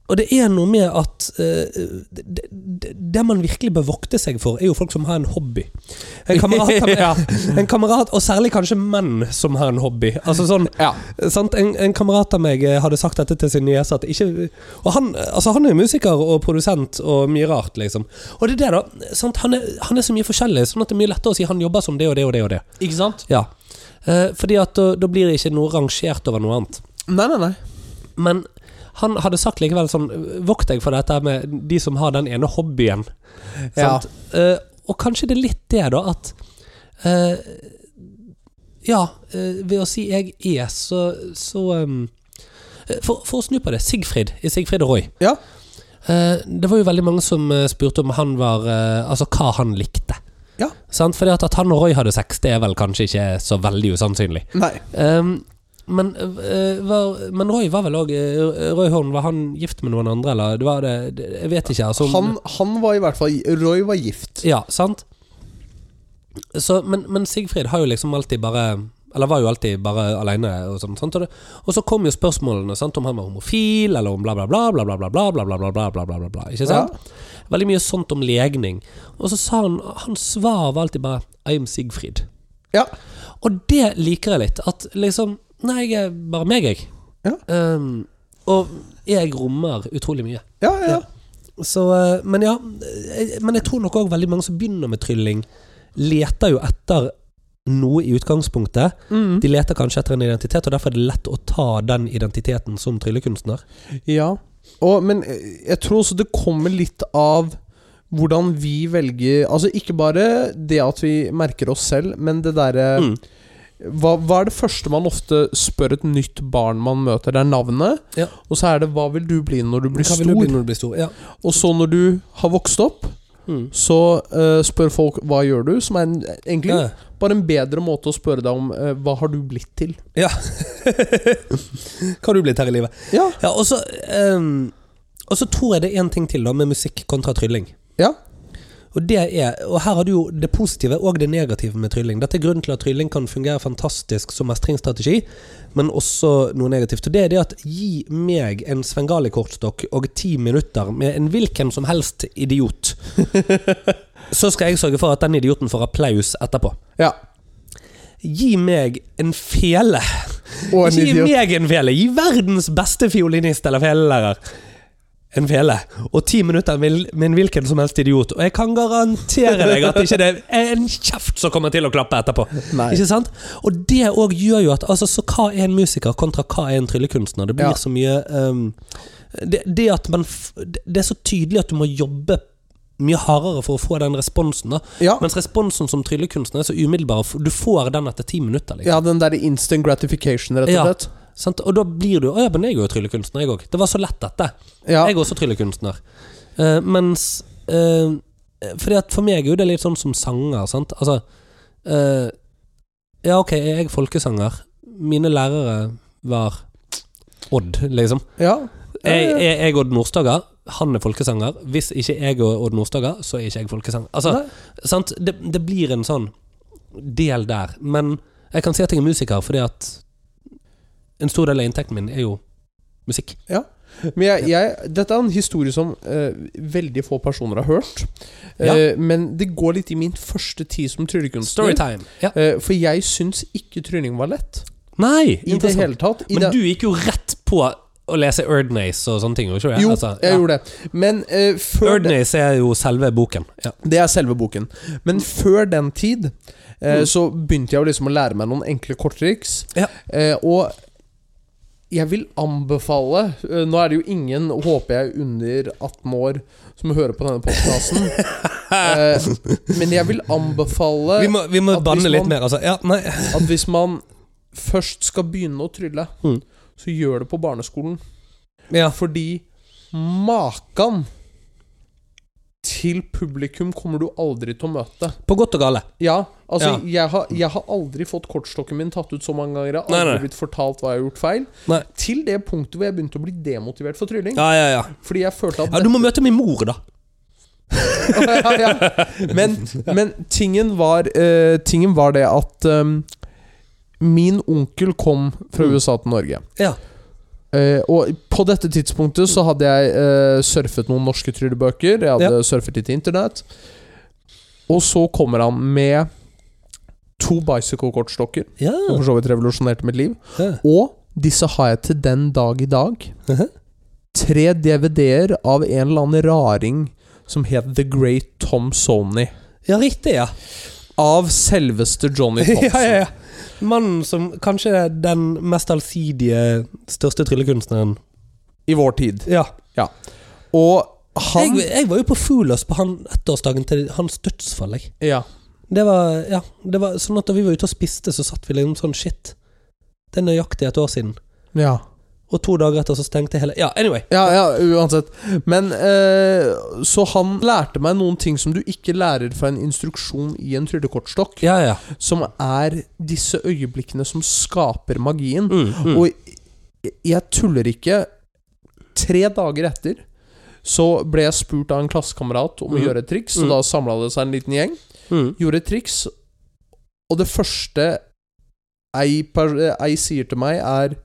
og det er noe med at eh, det, det, det man virkelig bør vokte seg for, er jo folk som har en hobby. En kamerat, har- Ja. en kamerat og særlig kanskje menn som har en hobby. Altså sånn Ja. Sant? En, en kamerat av meg eh, hadde sagt dette til sin niese. At ikke, og han, altså han er musiker og produsent og mye rart, liksom. Og det er det, da. Sant? Han, er, han er så mye forskjellig, sånn at det er mye lettere å si han jobber som det og det og det. og det Ikke sant? Ja eh, Fordi at da, da blir det ikke noe rangert over noe annet. Nei, nei, nei. Men han hadde sagt likevel sånn Vokt deg for dette med de som har den ene hobbyen. Ja. Sant? Eh, og kanskje det er litt det, da, at eh, Ja, eh, ved å si 'jeg er', så, så ehm, eh, for, for å snu på det, Sigfrid i Sigfrid og Roy. Ja. Eh, det var jo veldig mange som eh, spurte om han var eh, Altså hva han likte. Ja. Sant? Fordi at, at han og Roy hadde sex, det er vel kanskje ikke så veldig usannsynlig. Nei. Ehm, men, eh, var, men Roy var vel òg Roy Horn, var han gift med noen andre, eller? Det var det, det, jeg vet ikke. Altså, Han, han var i hvert fall Roy var gift. Ja, sant? Så, men, men Sigfrid har jo liksom alltid bare Eller var jo alltid bare aleine og sånn. Sant? Og, det, og så kom jo spørsmålene sant? om han var homofil, eller om bla, bla, bla, bla, bla, bla, bla, bla, bla, bla, bla, bla, bla, bla, bla. Ikke sant? Veldig mye sånt om legning. Og så sa han Hans svar var alltid bare I'm Sigfrid. Ja. Og det liker jeg litt. At liksom Nei, jeg er bare meg, jeg. Ja. Ehm, og jeg rommer utrolig mye. Ja, ja. ja. Så, eh, men ja eh, Men jeg tror nok òg veldig mange som begynner med trylling, leter jo etter noe i utgangspunktet. Mhm. De leter kanskje etter en identitet, og derfor er det lett å ta den identiteten som tryllekunstner. Ja, og, men eh, jeg tror også det kommer litt av hvordan vi velger Altså ikke bare det at vi merker oss selv, men det derre Mm. hva, hva er det første man ofte spør et nytt barn man møter? Det er navnet. Ja. Og så er det 'hva vil du bli når du blir Hva stor'? vil du bli når du blir stor? Ja. Og så når du har vokst opp, Mm. så eh, spør folk 'hva gjør du?' Som er en, egentlig Ja. bare en bedre måte å spørre deg om eh, 'hva har du blitt til'? ja. Hva har du blitt her i livet? Ja. Ja, og så ehm, Og så tror jeg det er én ting til da med musikk kontra trylling. Ja. Og, det er, og her har du jo det positive og det negative med trylling. Dette er grunnen til at trylling kan fungere fantastisk som mestringsstrategi, men også noe negativt. Og det er det at gi meg en Svengali-kortstokk og ti minutter med en hvilken som helst idiot, så skal jeg sørge for at den idioten får applaus etterpå. ja. Gi meg en fele. Og en Ikke gi idiot. meg en fele. Gi verdens beste fiolinist eller felelærer en fele. Og ti minutter med med en hvilken som helst idiot. Og jeg kan garantere deg at ikke det er en kjeft som kommer til å klappe etterpå. Nei. Ikke sant? Og det òg gjør jo at altså, Så hva er en musiker kontra hva er en tryllekunstner? Det blir Ja. så mye ehm, det, det at man f Det det er så tydelig at du må jobbe mye hardere for å få den responsen. da Ja. Mens responsen som tryllekunstner er så umiddelbar. og f- Du får den etter ti minutter. Liksom. ja, den derre instant gratification, rett og Ja. slett. Sant? Og da blir du Å ja, men jeg er jo tryllekunstner, jeg òg. Det var så lett, dette. Ja. Jeg er også tryllekunstner. Eh, mens eh, Fordi at for meg er jo det litt sånn som sanger, sant. Altså eh, Ja, ok, jeg er folkesanger. Mine lærere var Odd, liksom. Ja. Jeg, jeg, jeg Odd Nordstoga. han er folkesanger. Hvis ikke jeg og Odd Nordstoga, så er ikke jeg folkesanger. Altså, sant? Det, det blir en sånn del der. Men jeg kan si at jeg er musiker, fordi at en stor del av inntekten min er jo musikk. Men jeg, jeg, dette er en historie som eh, veldig få personer har hørt. Ja. Eh, men det går litt i min første tid som tryllekunstner. Storytime. Ja. Eh, for jeg syns ikke trylling var lett. Nei! I det hele tatt. I Men det, du gikk jo rett på å lese Erdnace og sånne ting. Ikke? sant? jo, Altså, jeg ja. gjorde det. Men eh, før det, Erdnace er jo selve boken. Ja. det er selve boken. Men før den tid eh, så begynte jeg jo liksom å lære meg noen enkle korttriks. Mm. Ja. Eh, og jeg vil anbefale eh, Nå er det jo ingen, håper jeg, under 18 år som hører på denne podkasten. men jeg vil anbefale Vi må, vi må at hvis banne litt man- mer, altså. Ja, nei. at hvis man først skal begynne å trylle, Mm. så gjør det på barneskolen. Ja. Fordi makan til publikum kommer du aldri til å møte. På godt og gale. Ja, altså Jeg, har, jeg har aldri fått kortstokken min tatt ut så mange ganger. Jeg har Nei, aldri nei. blitt fortalt hva jeg har gjort feil. Nei. Til det punktet hvor jeg begynte å bli demotivert for trylling. Ja, ja, ja. Fordi jeg følte at ja du må møte min mor, da. ja, ja. Men, men tingen var eh, Tingen var det at eh, Min onkel kom Mm. fra USA til Norge. Ja. Eh, og på dette tidspunktet så hadde jeg eh, surfet noen norske tryllebøker. Jeg hadde surfet litt internett. Og så kommer han med to bicycle-kortstokker, Ja. som for så vidt revolusjonerte mitt liv. Ja. Og disse har jeg til den dag i dag. Mhm. Tre DVD-er av en eller annen raring som het The Great Tom Sony. ja, riktig, ja. Av selveste Johnny Thompson. ja, ja, ja. Mannen som kanskje er den mest allsidige, største tryllekunstneren. I vår tid. Ja. Og han Jeg, jeg var jo på Fuglås på han ettårsdagen til hans dødsfall, jeg. Ja. Det var, ja, det var sånn at da vi var ute og spiste, så satt vi liksom sånn shit. Det er nøyaktig et år siden. ja. Og to dager etter så stengte hele Ja, anyway. Ja, ja, uansett. Men eh, Så han lærte meg noen ting som du ikke lærer fra en instruksjon i en tryllekortstokk, Ja, ja. som er disse øyeblikkene som skaper magien. Mm, mm. Og jeg- jeg tuller ikke. Tre dager etter så ble jeg spurt av en klassekamerat om å Mhm. gjøre et triks, Mhm. og da samla det seg en liten gjeng. mm. Gjorde et triks, og det første ei, per- ei sier til meg, er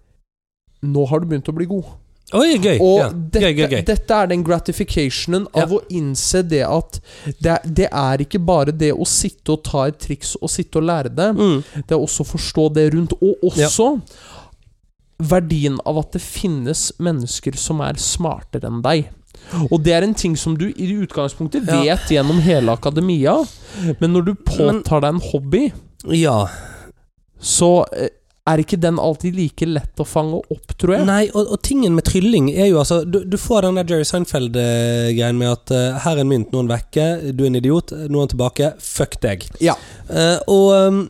Nå har du begynt å bli god. Oi, gøy. Og ja. dette, gøy, gøy, gøy. dette er den gratificationen av Ja. å innse det at det, det er ikke bare det å sitte og ta et triks og sitte og lære det. Mm. Det er også å forstå det rundt. Og også verdien av at det finnes mennesker som er smartere enn deg. Og det er en ting som du i utgangspunktet Ja. vet gjennom hele akademia, men når du påtar deg en hobby, Ja. så eh, er ikke den alltid like lett å fange opp, tror jeg. Nei, og, og tingen med trylling er jo altså Du, du får den der Jerry Seinfeld-greien med at eh, her er en mynt, noen vekke, du er en idiot, noen tilbake, fuck deg. Ja. Eh, og, um,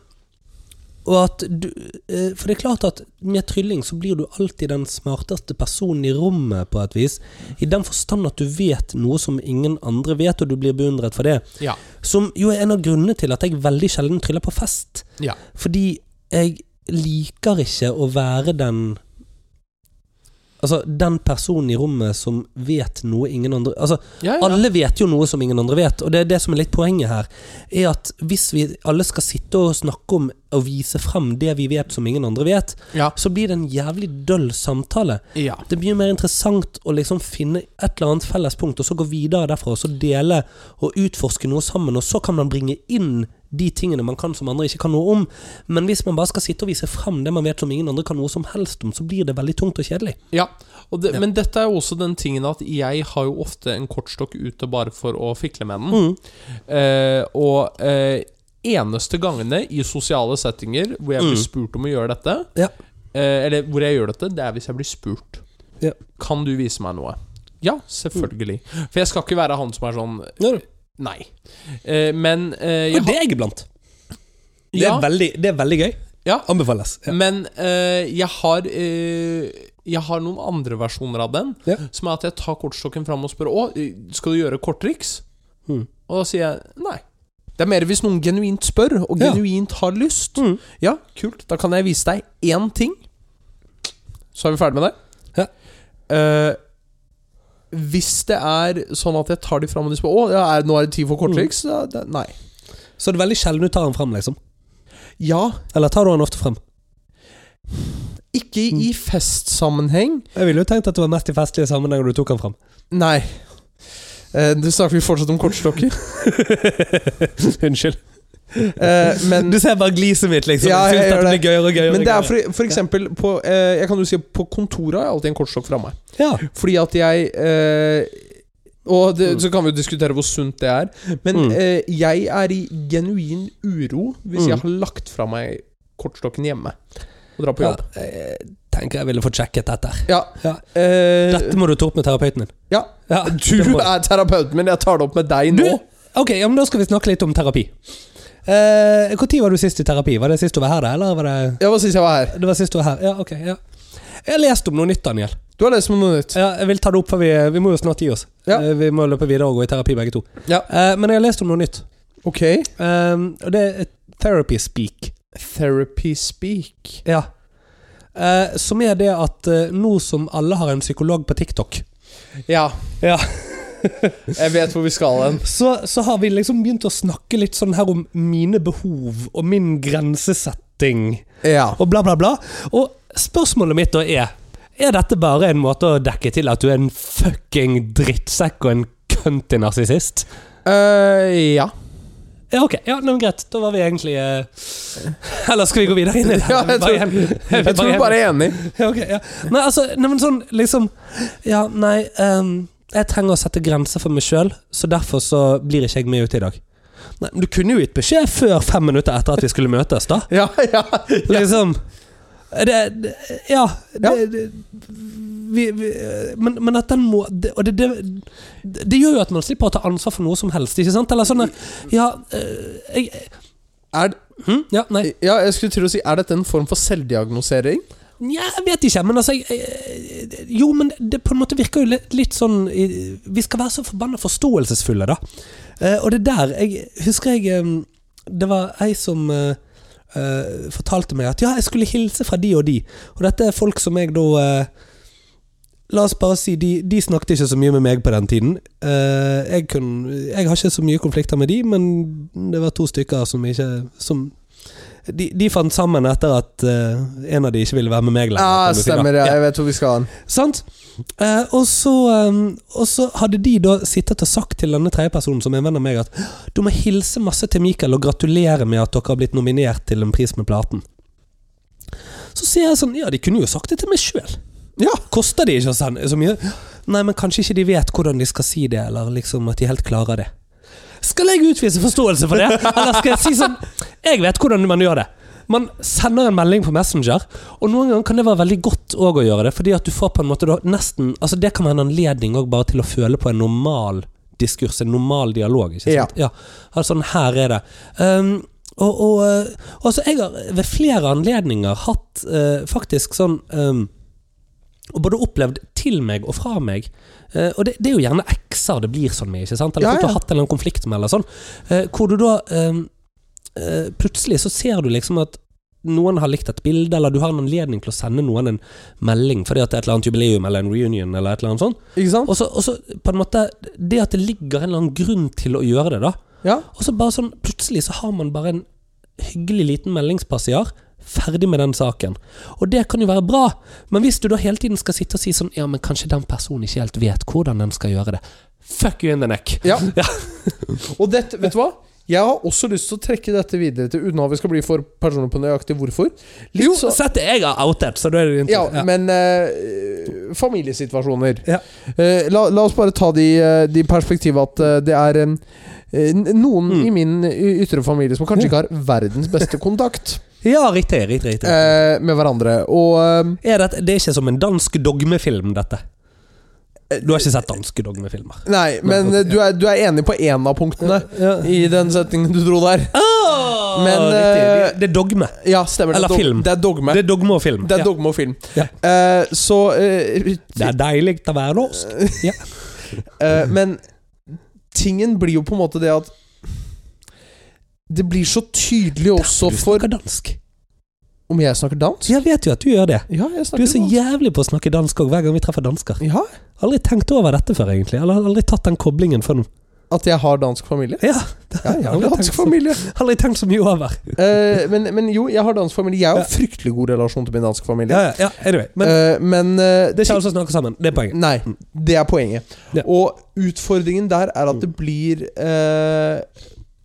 og at du eh, For det er klart at med trylling så blir du alltid den smarteste personen i rommet, på et vis. I den forstand at du vet noe som ingen andre vet, og du blir beundret for det. Ja. Som jo er en av grunnene til at jeg veldig sjelden tryller på fest. Ja. Fordi jeg liker ikke å være den Altså, den personen i rommet som vet noe ingen andre Altså, Ja, ja. alle vet jo noe som ingen andre vet, og det er det som er litt poenget her. Er at hvis vi alle skal sitte og snakke om og vise frem det vi vet som ingen andre vet, Ja. så blir det en jævlig døll samtale. Ja. Det blir mer interessant å liksom finne et eller annet felles punkt, og så gå videre derfra, og så dele og utforske noe sammen, og så kan man bringe inn de tingene man kan som andre ikke kan noe om. Men hvis man bare skal sitte og vise frem det man vet som ingen andre kan noe som helst om, så blir det veldig tungt og kjedelig. Ja, og det, men dette er jo også den tingen at jeg har jo ofte en kortstokk ute bare for å fikle med den. Eh, og eh, eneste gangene i sosiale settinger hvor jeg blir spurt om å gjøre dette, Mm. Ja. eh, eller hvor jeg gjør dette, det er hvis jeg blir spurt. Ja. Kan du vise meg noe? Ja, selvfølgelig. For jeg skal ikke være han som er sånn Ja, du. Nei. Eh, men eh, jeg Og det er jeg iblant. Det, Ja. er veldig, det er veldig gøy. Ja. Anbefales. Ja. Men eh, jeg har eh, Jeg har noen andre versjoner av den. Ja. Som er at jeg tar kortstokken fram og spør Å, skal du gjøre korttriks. Mm. Og da sier jeg nei. Det er mer hvis noen genuint spør, og Ja. genuint har lyst. Mm. Ja, kult. Da kan jeg vise deg én ting. Så er vi ferdig med det. Ja. Eh, hvis det er sånn at jeg tar de fram og de spør Å, ja, er, nå er det tid for Mm. korttriks, ja, det, nei. Så det er veldig sjelden du tar den frem, liksom. Ja, Eller tar du den ofte frem? ikke Mm. i festsammenheng. Jeg ville jo tenkt at det var mest i festlige sammenhenger du tok den frem. Nei. Eh, Du snakker vi fortsatt om kortstokker. Unnskyld. Eh, men Du ser bare gliset mitt, liksom. Ja, jeg jeg synes gjør at det blir gøyere og gøyere. men og det er gøyere. for, for eksempel på, eh, Jeg kan jo si at på kontoret har jeg alltid en kortstokk fra meg. Ja. Fordi at jeg eh, Og det, så kan vi jo diskutere hvor sunt det er. Men Mm. eh, jeg er i genuin uro hvis Mm. jeg har lagt fra meg kortstokken hjemme og drar på ja. jobb. Jeg tenker jeg ville fått sjekket dette. her. Ja. Ja. Eh, Dette må du ta opp med terapeuten din. ja. Ja, det Du må- er terapeuten min, jeg tar det opp med deg nå. Du, ok, ja, men da skal vi snakke litt om terapi. Eh, Hvor tid var du sist i terapi? Var det sist du var her, da? Eller var det Ja, Hva syns jeg var her? Det var sist du var her. Ja, ok. ja. Jeg har lest om noe nytt, Daniel. Du har lest om noe nytt. Ja, jeg vil ta det opp, for vi, eh, vi må jo snart gi oss. Ja. Eh, Vi må løpe videre og gå i terapi, begge to. Ja. Eh, Men jeg har lest om noe nytt. Ok. Um, og det er therapy speak. Therapy speak. Ja. Eh, som er det at eh, nå som alle har en psykolog på TikTok, Ja. Ja. jeg vet hvor vi skal hen. så, så har vi liksom begynt å snakke litt sånn her om mine behov og min grensesetting. Ja. og bla, bla, bla. Og spørsmålet mitt da er Er dette bare en måte å dekke til at du er en fucking drittsekk og en cunty narsissist? Eh, ja. Ja, ok. Ja, nei, men Greit. Da var vi egentlig eh, Eller skal vi gå videre inn i det? Ja, jeg tror- Jeg tror vi bare er enig. Ja, ok, ja. Nei, altså, nei, men sånn liksom Ja, nei ehm, Jeg trenger å sette grenser for meg sjøl, så derfor så blir ikke jeg med ut i dag. Nei, men Du kunne jo gitt beskjed før fem minutter etter at vi skulle møtes, da. Ja, ja. Liksom det, det, Ja. Det, Ja. Det, vi, vi, men, men at den må det, Og det, det, det gjør jo at man slipper å ta ansvar for noe som helst, ikke sant? Eller sånn der, Ja, eh, jeg, Er, hm? ja nei. ja, jeg skulle til å si Er dette en form for selvdiagnosering? Nja, jeg vet ikke, men altså jeg, jeg, Jo, men det på en måte virker jo litt, litt sånn i- Vi skal være så forbanna forståelsesfulle, da. Eh, og det der jeg, Husker jeg em, Det var ei som eh, eh, fortalte meg at ja, jeg skulle hilse fra de og de. Og dette er folk som jeg da eh, La oss bare si de, de snakket ikke så mye med meg på den tiden. Eh, jeg, kunne, jeg har ikke så mye konflikter med de, men det var to stykker som ikke som, de, de fant sammen etter at eh, en av de ikke ville være med meg lenger. Ja, kan du si, da. Ah, stemmer. Ja, jeg vet hvor vi skal hen. Sant? Eh, og, så, eh, og så hadde de da sittet og sagt til denne tredjepersonen, som er en venn av meg, at du må hilse masse til Mikael og gratulere med at dere har blitt nominert til en pris med platen. Så sier jeg sånn Ja, de kunne jo sagt det til meg sjøl. Ja. Koster de ikke å sende så mye? Nei, men kanskje ikke de vet hvordan de skal si det, eller liksom at de helt klarer det. Skal jeg utvise forståelse for det, eller skal jeg si sånn Jeg vet hvordan man gjør det. Man sender en melding på Messenger, og noen ganger kan det være veldig godt også å gjøre det, fordi at du får på en måte da nesten Altså Det kan være en anledning også bare til å føle på en normal diskurs, en normal dialog. Ikke sant? Ja. Altså, sånn, her er det. Um, og, og, eh, altså, jeg har ved flere anledninger hatt eh, faktisk sånn um, og både opplevd til meg og fra meg. Eh, og det, det er jo gjerne ekser det blir sånn med, ikke sant? Eller Ja, folk ja. har hatt en eller annen konflikt med, eller sånn. Eh, hvor du da eh, eh, Plutselig så ser du liksom at noen har likt et bilde, eller du har en anledning til å sende noen en melding fordi at det er et eller annet jubileum eller en reunion eller et eller annet sånt. Ikke sant? Og så, og så på en måte Det at det ligger en eller annen grunn til å gjøre det, da. Ja. Og så bare sånn, plutselig så har man bare en hyggelig liten meldingspassiar. Ferdig med den saken. Og det kan jo være bra, men hvis du da hele tiden skal sitte og si sånn Ja, men kanskje den personen ikke helt vet hvordan den skal gjøre det. Fuck you in the neck. Ja. Ja. Og dette, vet du hva? Jeg har også lyst til å trekke dette videre til Uten at vi skal bli for personlig på nøyaktig hvorfor. Litt Jo, så- sett det jeg har outet, så da er det din tur. ja, men eh, familiesituasjoner. Ja. Eh, la, la oss bare ta de, eh, de perspektivet at eh, det er en, eh, noen Mm. i min y- ytre familie som kanskje ikke har verdens beste kontakt ja riktig. riktig, riktig. eh, med hverandre. Og eh, er det, det er ikke som en dansk dogmefilm, dette. Du har ikke sett danske dogmefilmer? Nei, men ok, eh, du, er, du er enig på én av punktene i den setningen du dro der. Åh, Men, riktig. eh, Det er dogme. Ja, stemmer. Eller det er dog- film. Det er dogme. Det er dogme og film. Det er Ja. dogme og film. Ja. Eh, så eh, Det er deilig å være norsk. eh, Men tingen blir jo på en måte det at Det blir så tydelig også Du for snakker dansk. Om jeg snakker dansk? Jeg vet jo at du gjør det. Ja, jeg Du snakker er så jævlig på å snakke dansk òg, hver gang vi treffer dansker. Ja, Aldri tenkt over dette før, egentlig. Eller har aldri tatt den koblingen før nå. At jeg har dansk familie? Ja, Ja, jeg har Aldri tenkt dansk så- familie. Aldri tenkt så mye over. Eh, men, men jo, jeg har dansk familie. Jeg har Ja. jo fryktelig god relasjon til min danske familie. Ja, ja, ja, anyway. Men Eh, men eh, det er ikke alle som snakker sammen. Det er poenget. Nei, det er poenget. Ja. Mm. Og utfordringen der er at det blir eh,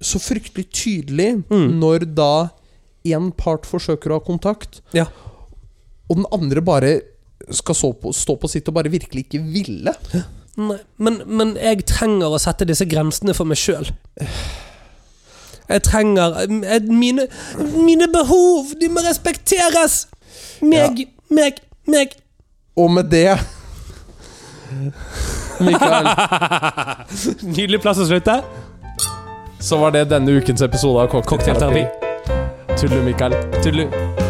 så fryktelig tydelig Mm. når da én part forsøker å ha kontakt, Ja. og den andre bare skal stå på, stå på sitt og bare virkelig ikke ville. Nei, men, men jeg trenger å sette disse grensene for meg sjøl. Jeg trenger jeg, mine, mine behov, de må respekteres! Meg, meg, meg. Og med det Mikael, Nydelig plass å slutte. Så var det denne ukens episode av Cocktailterapi. Cocktailterapi. Tullu, Mikael. Tullu.